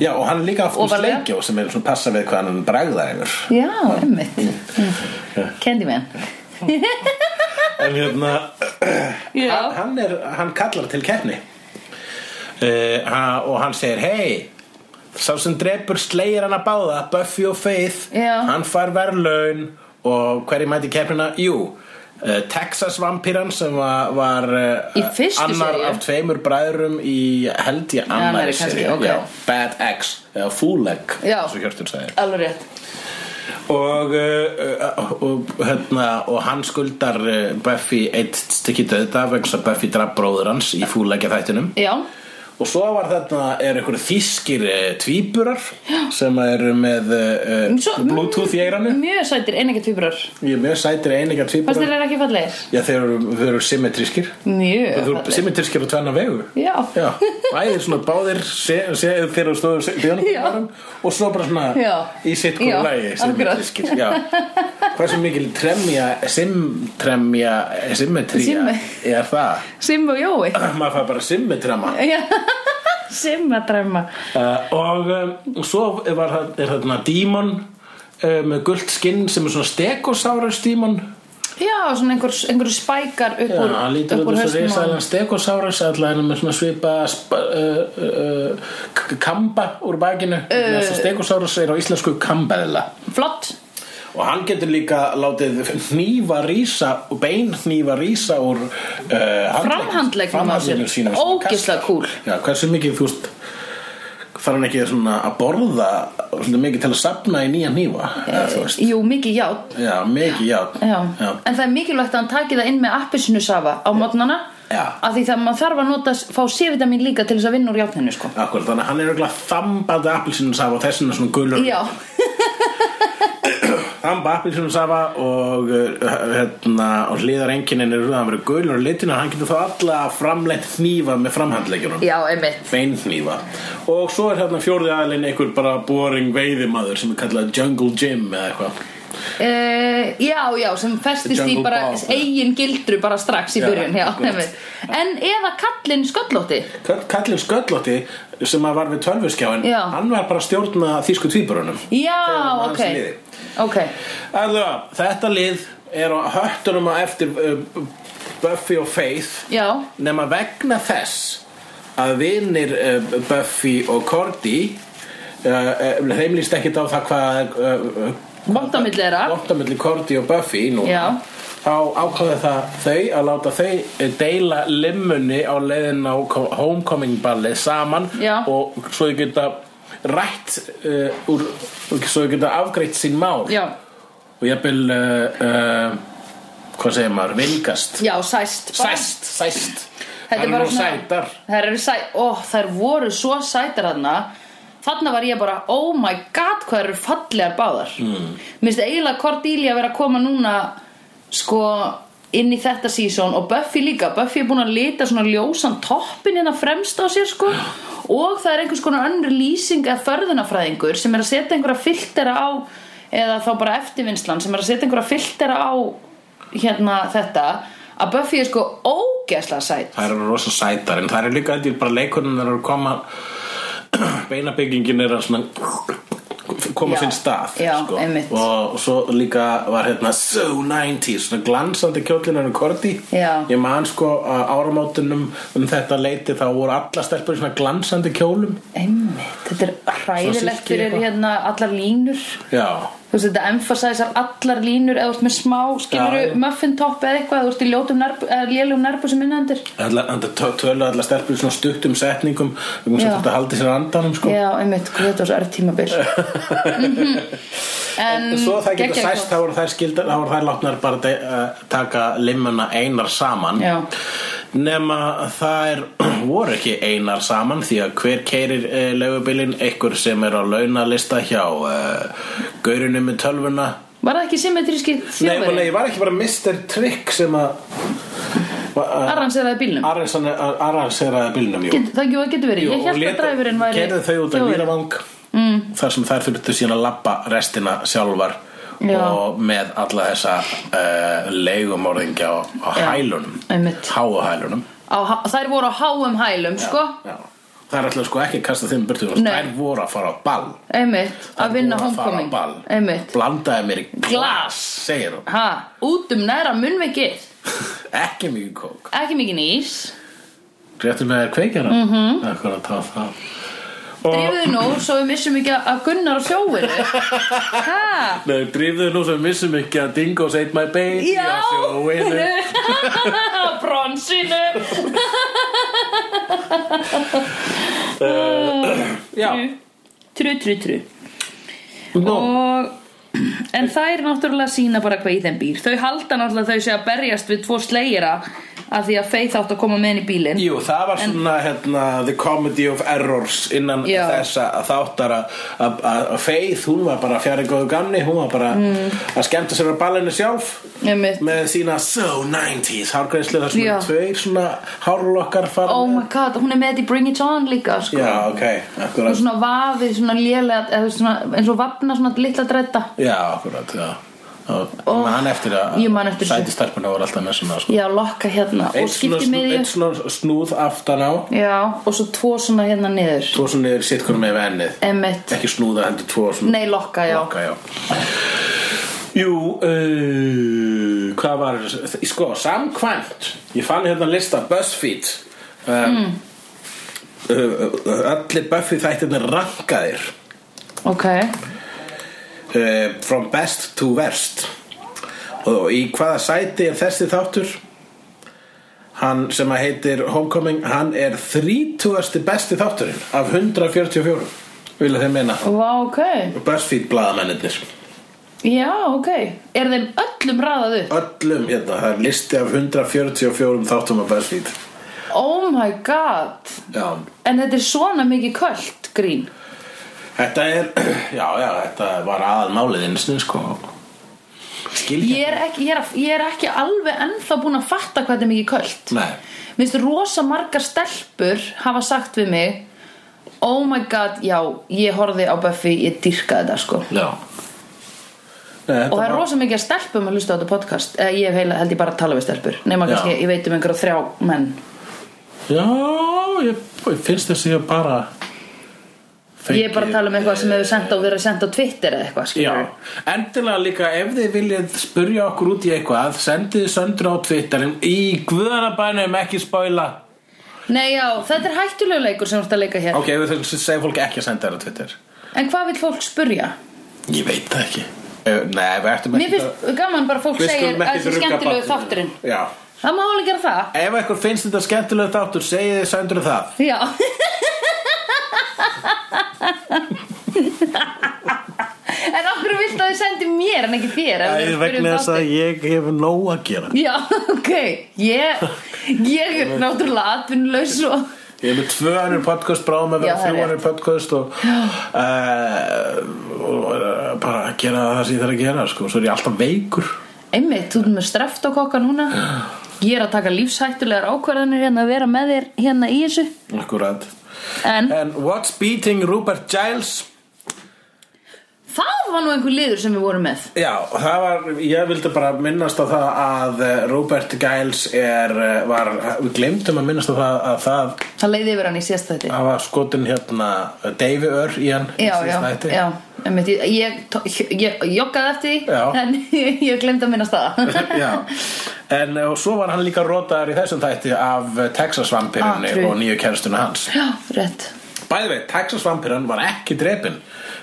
Speaker 1: Já, og hann er líka aftur
Speaker 2: Ofarlega.
Speaker 1: sleikjó sem er svona passa við hvað hann bragðarefur
Speaker 2: já, einmitt Candyman
Speaker 1: En hérna hann,
Speaker 2: já.
Speaker 1: hann, er, hann kallar til keppni uh, ha, og hann segir hei, sá sem drepur slegir hann að báða, Buffy og Faith
Speaker 2: Já.
Speaker 1: hann fær verðlaun og hverju mæti í keppnina? Jú uh, Texas vampíran sem var, var
Speaker 2: Í
Speaker 1: uh,
Speaker 2: fyrstu
Speaker 1: annar
Speaker 2: seríu?
Speaker 1: af tveimur bræðurum í held ég
Speaker 2: annarri
Speaker 1: annari
Speaker 2: kannski,
Speaker 1: seríu,
Speaker 2: ok.
Speaker 1: já, Bad Eggs eða Fool Egg,
Speaker 2: Já.
Speaker 1: eins og Hjörtur segir
Speaker 2: alveg rétt
Speaker 1: og, uh, og, hérna, og hann skuldar uh, Buffy eitt stykki döðda vegna þess að Buffy draf bróður hans í fúlækja þættinum
Speaker 2: já,
Speaker 1: og svo var þarna er einhverju þýskir uh, tvíburar sem eru með uh,
Speaker 2: Svo-
Speaker 1: bluetooth í eiranu
Speaker 2: mjög sætir einega tvíbrar
Speaker 1: ég er mjög sætir einingar
Speaker 2: fannst
Speaker 1: tvíburar
Speaker 2: þér er ekki fallegir
Speaker 1: já þeir eru, þeir eru symmetrískir
Speaker 2: mjög
Speaker 1: þeir eru
Speaker 2: fallegir
Speaker 1: symmetrískir á tvenna vegu
Speaker 2: já,
Speaker 1: já bæðir svona báðir se, se, þegar þú stóður
Speaker 2: Já.
Speaker 1: bjónum og svo bara svona
Speaker 2: Já.
Speaker 1: í sitt
Speaker 2: Já,
Speaker 1: góðu lægi
Speaker 2: akkurat.
Speaker 1: hversu mikil tremja simtremja symmetría
Speaker 2: Simme-
Speaker 1: er það
Speaker 2: Sim og Jói
Speaker 1: maður fær bara simmetrema
Speaker 2: Já. Sim að dræma
Speaker 1: uh, og um, svo var, það- er þarna dímon uh, með gult skinn sem er svona stegosaurus dímon
Speaker 2: já, svona einhver, einhver spækar upp
Speaker 1: Já,
Speaker 2: úr
Speaker 1: hann lítur
Speaker 2: upp
Speaker 1: út
Speaker 2: úr
Speaker 1: þess að
Speaker 2: hausnum á honum.
Speaker 1: risaðan stegosaurus allan með svona svipa spa, uh, uh, k- kamba úr bakinu uh, stegosaurus er á íslensku kambeðla
Speaker 2: flott
Speaker 1: og hann getur líka látið hnífa rísa bein hnífa rísa úr uh, handlegg-
Speaker 2: Framhandleggnum á
Speaker 1: framhandleggnum
Speaker 2: sér.
Speaker 1: sínum sem hann
Speaker 2: Ógeðslega
Speaker 1: kastar.
Speaker 2: kúl.
Speaker 1: Já, hversu mikið þú veist þarf hann ekki svona að borða svona mikið til að sapna í nýja hnífa eða þú veist
Speaker 2: jú, mikið játn
Speaker 1: Já, mikið, já,
Speaker 2: Já.
Speaker 1: já.
Speaker 2: en það er mikilvægt að hann taki það inn með appelsinusafa á mótnana
Speaker 1: Já.
Speaker 2: af því það maður þarf að nota, fá C-vitamin líka til þess að vinna úr játninu sko.
Speaker 1: Akkur, þannig að hann er auðvitað þambandi appelsinusafa og þessina svona gulur
Speaker 2: Já,
Speaker 1: Þamba appelsinusafa og, uh, hérna, og hliðar enginin eru að hann verið gulur og litin og hann getur þá alla framleitt hnífa með framhandleikunum
Speaker 2: já, einmitt
Speaker 1: beinhnífa og svo er hérna fjórði aðlinn einhver bara boring veiðimaður sem er kallað Jungle Jim eða eitthvað
Speaker 2: Uh, já, já, sem festist í
Speaker 1: Jungle
Speaker 2: bara
Speaker 1: Bob.
Speaker 2: eigin gildru bara strax í
Speaker 1: Já,
Speaker 2: byrjun já,
Speaker 1: akkurat.
Speaker 2: einmitt. En eða kallinn sköllótti
Speaker 1: Kall- Kallinn Sköllotti sem að var við tölvurskjáin
Speaker 2: Já.
Speaker 1: hann var bara að stjórna þýsku tvíburunum
Speaker 2: Já,
Speaker 1: var
Speaker 2: ok
Speaker 1: hans liði.
Speaker 2: Ok,
Speaker 1: Allavega, þetta lið er á höttunum á eftir uh, Buffy og Faith
Speaker 2: já,
Speaker 1: nema vegna þess að vinir uh, Buffy og Cordy uh, uh, þeim líst ekkit á það hvað eh, uh,
Speaker 2: Vont á milli þeirra.
Speaker 1: Vontamilli Cordy og Buffy núna
Speaker 2: Já.
Speaker 1: þá ákvaði það þau að láta þau uh, deila limmunni á leiðin á co- homecoming ballið saman
Speaker 2: Já.
Speaker 1: og svo þau geta rætt uh, úr, svo þau geta afgreitt sín mál
Speaker 2: já,
Speaker 1: og jafnvel uh, uh, hvað segir maður, vingast
Speaker 2: já, sæst bara.
Speaker 1: sæst, sæst
Speaker 2: Þetta
Speaker 1: Þær
Speaker 2: er bara
Speaker 1: eru nú
Speaker 2: svona-
Speaker 1: sætar
Speaker 2: Þær eru sæ... Ó, þær voru svo sætar þarna Þarna var ég bara, oh my god, hvað þær eru fallegar báðar mm. Mér finnst eiginlega Cordelia vera að koma núna Sko, inn í þetta sísón Og Buffy líka, Buffy er búin að lita svona ljósan toppin hérna fremst á sér sko Og það er einhvers konar önnur lýsing eða förðunafræðingur Sem er að setja einhverja filtera á eða þá bara eftirvinnslan sem er að setja einhverja filtera á hérna þetta að Buffy er sko ógeðslega sætt
Speaker 1: Það eru rosa sætar en það eru líka held ég bara leikunum þegar eru að koma beinabyggingin er að svona koma
Speaker 2: Já,
Speaker 1: sinn stað
Speaker 2: já,
Speaker 1: sko.
Speaker 2: einmitt.
Speaker 1: og svo líka var hérna so 90s, svona glansandi kjóllin hennar Korti
Speaker 2: Já.
Speaker 1: ég man sko að áramótunum um þetta leiti þá voru alla stelpur í svona glansandi kjólum
Speaker 2: einmitt, þetta er hræðilegt
Speaker 1: silki
Speaker 2: fyrir
Speaker 1: eitthvað.
Speaker 2: hérna allar línur
Speaker 1: já,
Speaker 2: þú veist þetta emphasizar allar línur eða þú ert með smá, skilur
Speaker 1: Já, já.
Speaker 2: muffin top eða eitthvað, eða þú ert í ljótum nærbu, eða lélum nærbu sem innendur
Speaker 1: alla- þetta tö- tölu alla stelpur í svona stuttum setningum um
Speaker 2: Já.
Speaker 1: þetta haldi sér andanum sko
Speaker 2: Já, einmitt, hvað þetta var svo erð tímabil Mhm. En
Speaker 1: Svo það getur
Speaker 2: geggjað
Speaker 1: sæst,
Speaker 2: gott.
Speaker 1: þá voru þær skildar, þá voru þær látnar bara de, uh, taka limmuna einar saman
Speaker 2: Já.
Speaker 1: nema þær voru ekki einar saman því að hver keirir uh, legubilin einhver sem er á launalista hjá uh, gaurinu með tölvuna
Speaker 2: Var það ekki symmetríski
Speaker 1: Nei, og nei,
Speaker 2: þjóðverið?
Speaker 1: ég var ekki bara Mr. Trick sem að uh,
Speaker 2: Arranseraði bílnum
Speaker 1: arranseraði bilnum, jú
Speaker 2: Get, Það jú, það getur verið, ég held að dræfurinn væri
Speaker 1: Gerðu þau út af
Speaker 2: þjófurinn.
Speaker 1: Víravang mm. Þar sem þær þurftu síðan að labba restina sjálfar
Speaker 2: Já.
Speaker 1: Og með alla þessa uh, leigumorðingja á, á
Speaker 2: Já.
Speaker 1: hælunum
Speaker 2: Einmitt.
Speaker 1: Háu hælunum
Speaker 2: Á há- Þær voru á háum hælum, sko
Speaker 1: Já. Það er alltaf sko ekki að kasta þeim burtu
Speaker 2: Nei.
Speaker 1: Þær voru að fara á ball
Speaker 2: Einmitt,
Speaker 1: Þær
Speaker 2: að vinna
Speaker 1: voru að fara á
Speaker 2: homecoming
Speaker 1: ball.
Speaker 2: Einmitt
Speaker 1: Blandaði mér í
Speaker 2: Glas.
Speaker 1: glas, segir hún
Speaker 2: Ha, út um næra munnveikið
Speaker 1: Ekki mikið kók
Speaker 2: Ekki mikið nýs
Speaker 1: Réttum með þær kveikjara mm
Speaker 2: Mhm.
Speaker 1: -hmm. Akkurat þá það
Speaker 2: Drífðu þig nú, svo við missum ekki að Gunnar á sjóinu Ha,
Speaker 1: Nei, drifðu nú sem við missum ekki að Dingo's ate my baby
Speaker 2: já
Speaker 1: að sjóinu.
Speaker 2: Bronsinu
Speaker 1: Já,
Speaker 2: Tru, tru, tru
Speaker 1: nú
Speaker 2: og en þær náttúrulega sína bara hvað í þeim býr þau halda náttúrulega þau sé að berjast við tvo slegjara af því að Faith átt að koma með henni í bílinn
Speaker 1: Jú, það var svona hérna, the comedy of errors innan
Speaker 2: Já.
Speaker 1: þessa þáttar að- að að Faith, hún var bara fjari góðu gamni hún var bara
Speaker 2: Mm.
Speaker 1: að skemmta sér á ballinu sjálf
Speaker 2: Einmitt.
Speaker 1: með sína so 90s hárgreislu þar sem
Speaker 2: Já.
Speaker 1: eru tveir svona hárlokkar fara
Speaker 2: oh
Speaker 1: með.
Speaker 2: my god, hún er með þetta í Bring It On líka sko.
Speaker 1: Já, ok,
Speaker 2: og
Speaker 1: akkurat
Speaker 2: svona vafið svona lélega eða svona, eins og vafna svona litla drætta
Speaker 1: Já, akkurat, já Og
Speaker 2: Ó,
Speaker 1: man eftir að
Speaker 2: Oh, ég man eftir þessu.
Speaker 1: sætistarpuna voru alltaf með svona sko.
Speaker 2: já, lokka hérna
Speaker 1: Einn
Speaker 2: og skipti
Speaker 1: svona-
Speaker 2: með
Speaker 1: einn svona snúð aftan á
Speaker 2: já, og svo tvo svona hérna niður
Speaker 1: Svo svona niður sitt konum með ennið
Speaker 2: emmett,
Speaker 1: Ekki snúða, heldur tvo svona
Speaker 2: nei lokka já
Speaker 1: Loka, já. Jú, uh, hvað var sko, samkvæmt ég fann hérna lista BuzzFeed um, uh, allir Buffy þættirnir rankaðir
Speaker 2: ok,
Speaker 1: uh, from best to worst og í hvaða sæti er þessi þáttur hann sem að heitir Homecoming, hann er 30. besti þátturinn af 144 vilja þeim meina
Speaker 2: vá ok
Speaker 1: BuzzFeed blaðamennir
Speaker 2: já, ok, er þeim öllum raðað upp
Speaker 1: öllum hérna, það er listi af 144 þáttum af BuzzFeed
Speaker 2: oh my god
Speaker 1: já,
Speaker 2: En þetta er svona mikið kvöld grín
Speaker 1: þetta er já, já, þetta var aðal málið einsni, sko skilja
Speaker 2: Ég er ekki, ég er, ég er ekki alveg ennþá búin að fatta hvað þetta er mikið kvöld
Speaker 1: nei,
Speaker 2: Mér finnst rosa margar stelpur hafa sagt við mig Oh my god, já, ég horfði á Buffy, ég dýrkaði þetta sko
Speaker 1: já nei,
Speaker 2: Og það er rosa mikið af stelpum að hlusta á þetta podcast Eða ég hef heila, held ég bara að tala við stelpur Nefna
Speaker 1: Já.
Speaker 2: kannski, ég veit um einhverja þrjá menn
Speaker 1: já, ég, ég finnst þess að ég bara
Speaker 2: Ég er bara að tala um eitthvað sem hefur sendt á, verið sendt á Twitter eða eitthvað
Speaker 1: Já,
Speaker 2: skilurðu.
Speaker 1: endilega líka ef þið viljið spurja okkur út í eitthvað sendið söndru á Twitterin í guðanabænum ekki spoila
Speaker 2: Nei, já, þetta er hættulegu leikur sem þú ert að leika hér
Speaker 1: Ok, við þessum segja fólki ekki að senda þér á Twitter
Speaker 2: En hvað vil fólk spurja?
Speaker 1: Ég veit það ekki Eh, Nei, við ættum
Speaker 2: Mér
Speaker 1: ekki
Speaker 2: finnst gaman bara að fólk
Speaker 1: Við
Speaker 2: segir
Speaker 1: skulum
Speaker 2: að
Speaker 1: ekki
Speaker 2: þessi
Speaker 1: rugga
Speaker 2: skemmtilegu
Speaker 1: barninu.
Speaker 2: þátturinn
Speaker 1: Já
Speaker 2: Það má alveg gera það
Speaker 1: Ef eitthvað finnst þetta skemmtilegu þáttur, segið þið sændur það
Speaker 2: Já En okkur vilt að þið sendi mér en ekki þér ef þið eru að spyrja um þáttinn?
Speaker 1: ég hef nóg að gera
Speaker 2: Já, ok Ég, ég er náttúrulega atvinnulaus og
Speaker 1: Ég hef með tvö annir podcast, bráðum að vera
Speaker 2: Já, það er
Speaker 1: þrjú
Speaker 2: rétt.
Speaker 1: annir podcast og, uh, og eh, bara að gera það sem ég þarf að gera sko. svo er ég alltaf veikur
Speaker 2: Einmitt, þú erum með streftókokka núna Ég er að taka lífshættulegar ákvarðanir hérna að vera með þér hérna í þessu
Speaker 1: Akkurat
Speaker 2: En
Speaker 1: And what's beating Rupert Giles?
Speaker 2: það var nú einhver liður sem við vorum með
Speaker 1: Já, og það var, ég vildi bara minnast á það að eh, Robert Giles er, eh, var, við glemdum að minnast á það að það,
Speaker 2: það leiði yfir hann í sérstætti
Speaker 1: það var skotin hérna Davey Ör í hann Ah, í
Speaker 2: já, já,
Speaker 1: síðasta þætti.
Speaker 2: já einmitt, ég, ég, tó- ég joggaði eftir því
Speaker 1: Já.
Speaker 2: en ég glemd að minna staða
Speaker 1: já. En eh, og svo var hann líka rótaður í þessum þætti af eh, Texas
Speaker 2: Ah,
Speaker 1: vampirunni
Speaker 2: true.
Speaker 1: og nýju kennstuna hans.
Speaker 2: já, rétt
Speaker 1: Bæði veit, Texas vampirun var ekki drepin.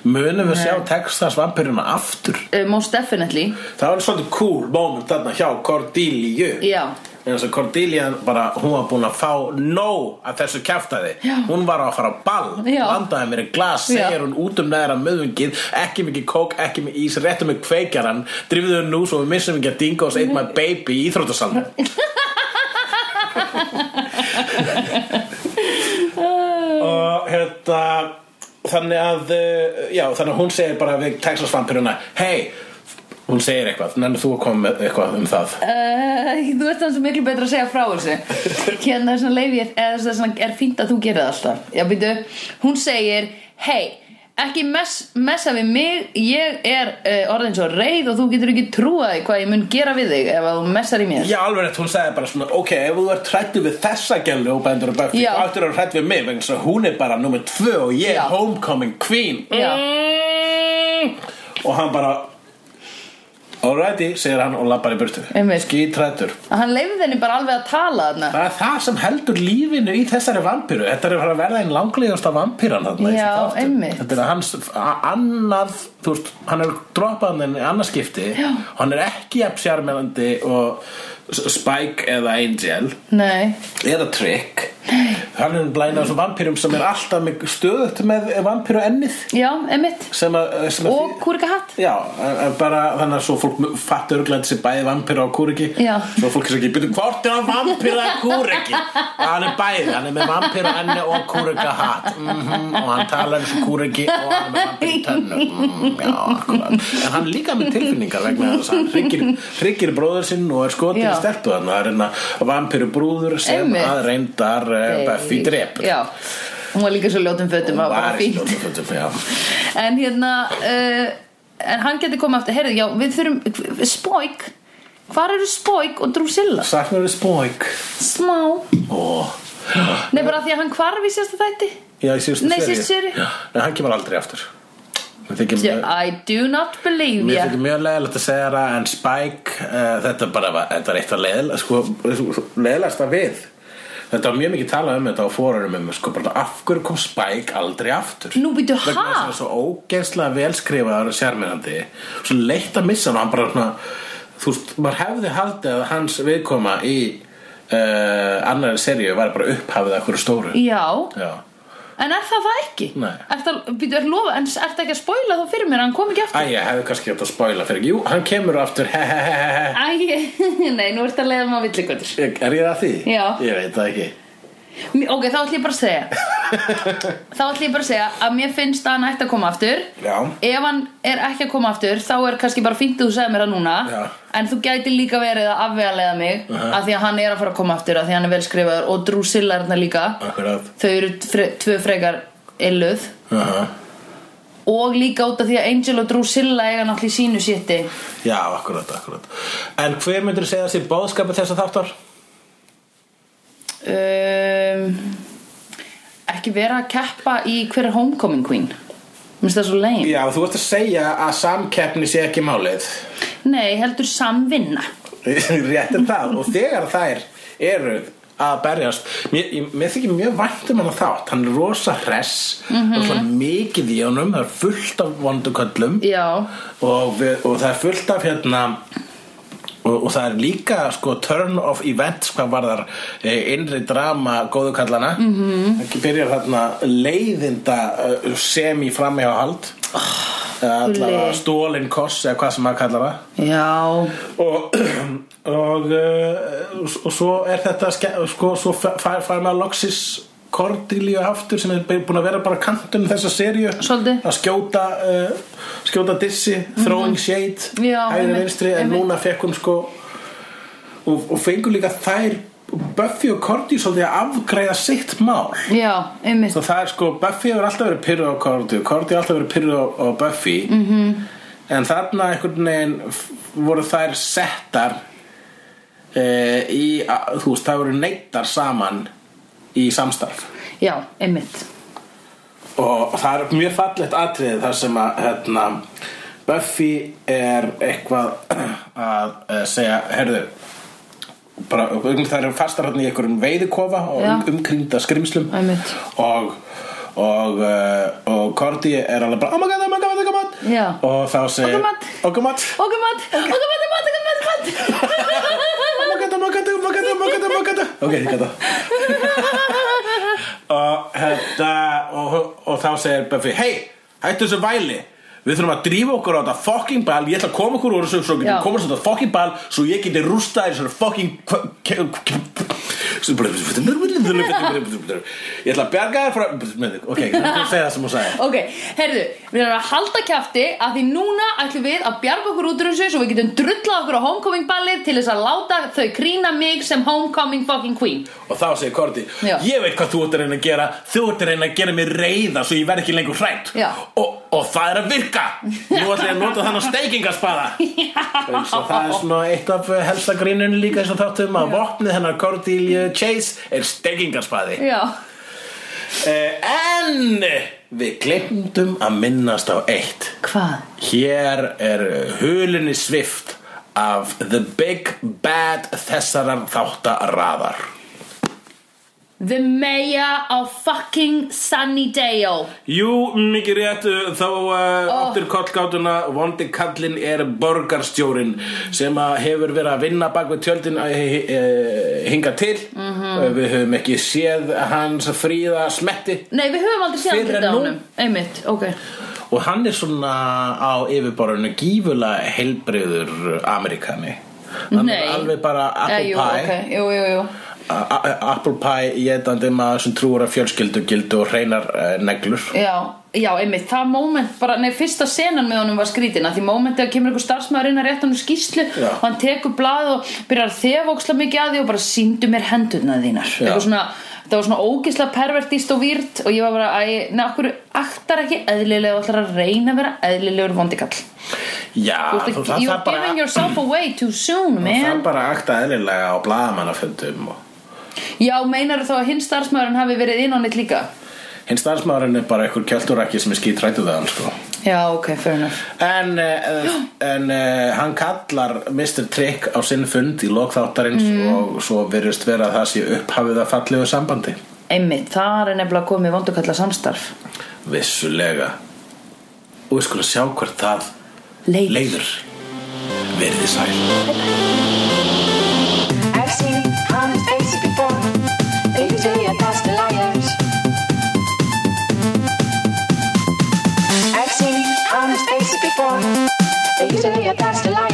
Speaker 1: Munum við sjá Texas vampiruna aftur?
Speaker 2: uh, most definitely
Speaker 1: Það var svolítið cool moment þarna hjá Cordelia.
Speaker 2: Já.
Speaker 1: En þess að Cordelia bara, hún var búin að fá nóg af þessu kjaftaði.
Speaker 2: Já.
Speaker 1: Hún var að fara á ball,
Speaker 2: Já.
Speaker 1: landaði mér í glas,
Speaker 2: Já.
Speaker 1: segir hún út um neðra möðungið, ekki mikið kók, ekki mikið ís, um réttum með kveikjaran, drifðu hún nú svo við missum ekki að Dingo's ate my baby í Íþróttasalnum. og hérna þannig að uh, já, þannig að hún segir bara við Texas vampiruna hei, hún segir eitthvað nenni þú að koma með eitthvað um það
Speaker 2: Uh, þú ert þannig miklu betra að segja frá þessu hérna þess að leifi ég eða þess að er fínt að þú gerir það alltaf já, býtu, hún segir hei, ekki mess, messa við mig ég er uh, orðin svo reið og þú getur ekki trúað því hvað ég mun gera við þig ef að þú messar í mér
Speaker 1: já, alveg rétt, hún segir bara svona ok, ef þú ert hrættu við þessa gælu og bændur og Buffy,
Speaker 2: Já.
Speaker 1: þá ættur að hrættu við mig vegna svo hún er bara nummer tvö og ég
Speaker 2: Já.
Speaker 1: er homecoming queen
Speaker 2: Já.
Speaker 1: mm. og hann bara alrighty, segir hann og lappar í burtu
Speaker 2: Einmitt.
Speaker 1: skítrættur
Speaker 2: að hann leiði þenni bara alveg að tala þarna
Speaker 1: Það er það sem heldur lífinu í þessari vampíru Þetta er að fara að verða einn langlegasta vampíran þarna í
Speaker 2: Já,
Speaker 1: þessum þáttum.
Speaker 2: einmitt.
Speaker 1: Þetta er hans a- annað Þú veist, hann er droppað hann í annað skipti
Speaker 2: Já.
Speaker 1: og Hann er ekki jafn sjarmerandi og S- Spike eða Angel
Speaker 2: nei,
Speaker 1: eða Trick Hann er blænað þessum vampírum sem er alltaf með stöðut með vampíru ennið
Speaker 2: já, emitt
Speaker 1: sem að, sem að
Speaker 2: og kúrika hatt
Speaker 1: Já, en- en bara þannig að svo fólk fattu örglænt sér bæði vampíra og kúriki
Speaker 2: Já.
Speaker 1: Svo fólk er ekki, byrju, hvort er hann vampíra og kúriki? Hann er bæði, hann er með vampíra enni og kúrika hatt Og hann talar eins og kúriki og hann er með vampíra tönnu mm, Já, akkurat En hann er líka með tilfinningar vegna þess að hann hryggir, hryggir bróður sinn og er skotið
Speaker 2: Já.
Speaker 1: í stelpu þannig að það er hérna vampíru brúður sem
Speaker 2: Einmitt.
Speaker 1: að reyndar uh, Buffy drepur
Speaker 2: já, hún var líka svo ljótum fötum það var bara
Speaker 1: í
Speaker 2: fínt
Speaker 1: stjórnum, já
Speaker 2: En hérna uh, En hann getur komið aftur Heyrðu, já, við þurfum Spoik Hvar eru Spoik og Drusilla?
Speaker 1: Saknar við spóik
Speaker 2: Smá
Speaker 1: Ó
Speaker 2: Nei, bara af því að hann hvarf í sérsta þætti
Speaker 1: Já, í síðustu
Speaker 2: Nei,
Speaker 1: seríu.
Speaker 2: síðustu seríu.
Speaker 1: Já, en hann kemur aldrei aftur Mér þykir
Speaker 2: Sér,
Speaker 1: mjög,
Speaker 2: I do not believe
Speaker 1: mér
Speaker 2: ya
Speaker 1: þykir mjög leðilegt að segja það En Spike, uh, þetta bara var, Þetta er eitt að leðilega sko, Leðilegasta við Þetta var mjög mikið talað um þetta á fórurum um, sko, bara, Af hverju kom Spike aldrei aftur
Speaker 2: Nú býtu,
Speaker 1: Vegna þess að
Speaker 2: ha?
Speaker 1: hann er svo ógeðslega velskrifaður og sérmennandi Svo leitt að missa hann og Hann bara svona Þú veist, maður hefði haldið að hans viðkoma í uh, annari seríu var bara upphafið að hverju stóru
Speaker 2: Já,
Speaker 1: Já
Speaker 2: en er það það ekki?
Speaker 1: Nei.
Speaker 2: Er það, býtu, er lofa, en er það ekki að spoila þá fyrir mér, hann kom ekki aftur
Speaker 1: Æ, ég hefði kannski hægt að spoila fyrir ekki Jú, hann kemur aftur Hehehehe
Speaker 2: Æ, nei, nú ertu að leiða maður villigöldur
Speaker 1: Er ég að því?
Speaker 2: Já.
Speaker 1: Ég veit það ekki
Speaker 2: Ok, þá ætlum ég bara að segja Þá ætlum ég bara að segja að mér finnst að hann ætti að koma aftur
Speaker 1: Já
Speaker 2: ef hann er ekki að koma aftur þá er kannski bara fínt að þú segir mér það núna
Speaker 1: Já.
Speaker 2: en þú gæti líka verið að afvegalega mig uh af því að hann er að fara að koma aftur af því að hann er vel skrifaður og Drusilla er þarna líka
Speaker 1: Akkurat
Speaker 2: þau eru fre tvö frekar illuð
Speaker 1: Aha.
Speaker 2: og líka út af því að Angel og Drusilla eiga náttúrulega í sínu sétti
Speaker 1: Já, akkurat, akkurat En hver myndur segja þessi bóðskapi þessa þáttar?
Speaker 2: um, ekki vera að keppa í hver er Homecoming Queen minnst það svo leið
Speaker 1: Já, þú ert að segja að samkeppni sé ekki málið
Speaker 2: nei, heldur samvinna
Speaker 1: Rétt er það Og þegar þær eru að berjast Mér, ég- mér þykir mjög vænt um hann þátt Hann er rosa hress Það er svona mikið í honum Það er fullt af vonduköllum
Speaker 2: já,
Speaker 1: og, við, og það er fullt af hérna og, og það er líka sko turn of events hvað varðar eh, innri drama góðu kallana mm -hmm. ekki byrjar þarna leiðinda eh, semi framhjáhald oh, allavega
Speaker 2: Gulli.
Speaker 1: stólin koss eða hvað sem maður kallar það
Speaker 2: já
Speaker 1: og, og, eh, og, og svo er þetta ske- sko, svo fær, fær maður loksis Cordelia aftur sem er búin að vera bara kantum þessa seríu
Speaker 2: Svolítið. Mhm.
Speaker 1: að skjóta uh, skjóta dissi, throwing shade
Speaker 2: Já,
Speaker 1: hægri
Speaker 2: einmitt,
Speaker 1: vinstri, en
Speaker 2: einmitt.
Speaker 1: núna fekk hún sko og, og fengur líka þær Buffy og Cordy svolítið að afgreiða sitt mál
Speaker 2: já, einmitt
Speaker 1: Svo það er sko, Buffy hefur alltaf verið pyrruð á Cordy og Cordy hefur alltaf verið pyrruð á, á Buffy -hmm. En þarna einhvern veginn f- voru þær settar e, í, a, þú veist, það voru neittar saman í samstarf
Speaker 2: já, einmitt
Speaker 1: og það er mjög fallegt atriði þar sem að hérna, Buffy er eitthvað að eh, segja herðu bara, um, það eru fastar hérna í einhverjum veiðikofa og
Speaker 2: Já.
Speaker 1: um, umkringda skrimslum
Speaker 2: Einmitt.
Speaker 1: og og, uh, og Korti er alveg bara oh my god, oh my god, oh my god
Speaker 2: Já.
Speaker 1: og þá segir oh
Speaker 2: Oh my God.
Speaker 1: my god,
Speaker 2: okkur mat, okkur mat, okkur mat, okkur mat,
Speaker 1: oh my god, oh my god, oh my god, oh my god, oh my god ok, ég gata og, hérna, og, og þá segir Buffy hei, hættu þessu væli við þurfum að drífa okkur á þetta fucking ball ég ætla að koma okkur úr þessu svo
Speaker 2: Já.
Speaker 1: getum komast á þetta fucking ball svo ég geti rústa þér þessar fucking kv- ke- ke- svo bara- ég ætla að bjarga þér frá ok, þú segir það sem hún sagði
Speaker 2: Ok, herðu, við erum að halda kjafti að því núna ætlum við að bjarga okkur út úr þessu svo við getum drullað okkur á homecoming ballið til þess að láta þau grína mig sem homecoming fucking queen
Speaker 1: og þá segir Korti
Speaker 2: Já.
Speaker 1: ég veit hvað þú ert að reyna að gera þú ert að reyna að gera mig reyða svo ég verð ekki lengur hrætt
Speaker 2: Já.
Speaker 1: og, og það er að virka nú ætla ég að nota þannig steikingaspada eins og það er svona eitt af eh, helsta grínunni líka eins og þáttum að vopnið hennar Cordelia Chase er steikingaspadi
Speaker 2: Já,
Speaker 1: eh, en við glemdum að minnast á eitt
Speaker 2: hvað?
Speaker 1: hér er hulunni svift af The Big Bad þessarar þáttaraðar
Speaker 2: The mayor of fucking Sunnydale
Speaker 1: Jú, mikið rétt uh, þá uh,
Speaker 2: Oh.
Speaker 1: áttir kollgátuna vondi kallinn er borgarstjórin sem að hefur verið að vinna bak við tjöldin að hinga til
Speaker 2: Mhm.
Speaker 1: -hmm. við höfum ekki séð hans fríða smetti
Speaker 2: Nei, við höfum aldrei séð
Speaker 1: Fyrr en
Speaker 2: þetta á
Speaker 1: nú.
Speaker 2: honum Einmitt, ok
Speaker 1: og hann er svona á yfirborðinu gífulega heilbreyður Amerikani hann
Speaker 2: Nei.
Speaker 1: er alveg bara apple
Speaker 2: Eh, jú,
Speaker 1: pie
Speaker 2: ok, Jú, jú, jú
Speaker 1: a- a- apple pie jedandi maður sem trúur að fjölskyldugildu og reynar uh, neglur
Speaker 2: Já, já, einmitt, það moment bara, nei, fyrsta senan með honum var skrítina því momentið að kemur einhver starfsmaður inn að rétta hann skýslu
Speaker 1: Já.
Speaker 2: og hann tekur blað og byrjar að þefóksla mikið að því og bara síndu mér hendurna þínar
Speaker 1: Já.
Speaker 2: Eitthvað svona, það var svona ógisla pervertist og výrt og ég var bara, æ, nei, okkur aktar ekki eðlilega og ætlar að reyna að vera eðlilegur vondikall
Speaker 1: Já,
Speaker 2: Þú ert
Speaker 1: Ah, það,
Speaker 2: að- You're
Speaker 1: það bara
Speaker 2: giving yourself away too soon,
Speaker 1: Það er
Speaker 2: man
Speaker 1: bara að akta eðlilega á blaðamannafundum og
Speaker 2: Já, meinar þá að hinn starfsmaðurinn hafi verið inn á neitt líka
Speaker 1: hinn starfsmaðurinn er bara einhver kjölduraki sem er skítrættuð að hann sko.
Speaker 2: Já, ok, fair enough
Speaker 1: En, eh, en eh, hann kallar Mr. Trick á sinn fund í lokþáttarins og svo virðist vera að það sé upphafið að fallegu sambandi.
Speaker 2: Einmitt, þar er nefnilega komið vondukalla samstarf
Speaker 1: Vissulega. Og við skulum sjá hvert það
Speaker 2: Leiðir.
Speaker 1: leiður. Verði sæl.
Speaker 3: I've seen honest faces before. They usually are past the liars. I've seen honest faces before. They usually are past the liars.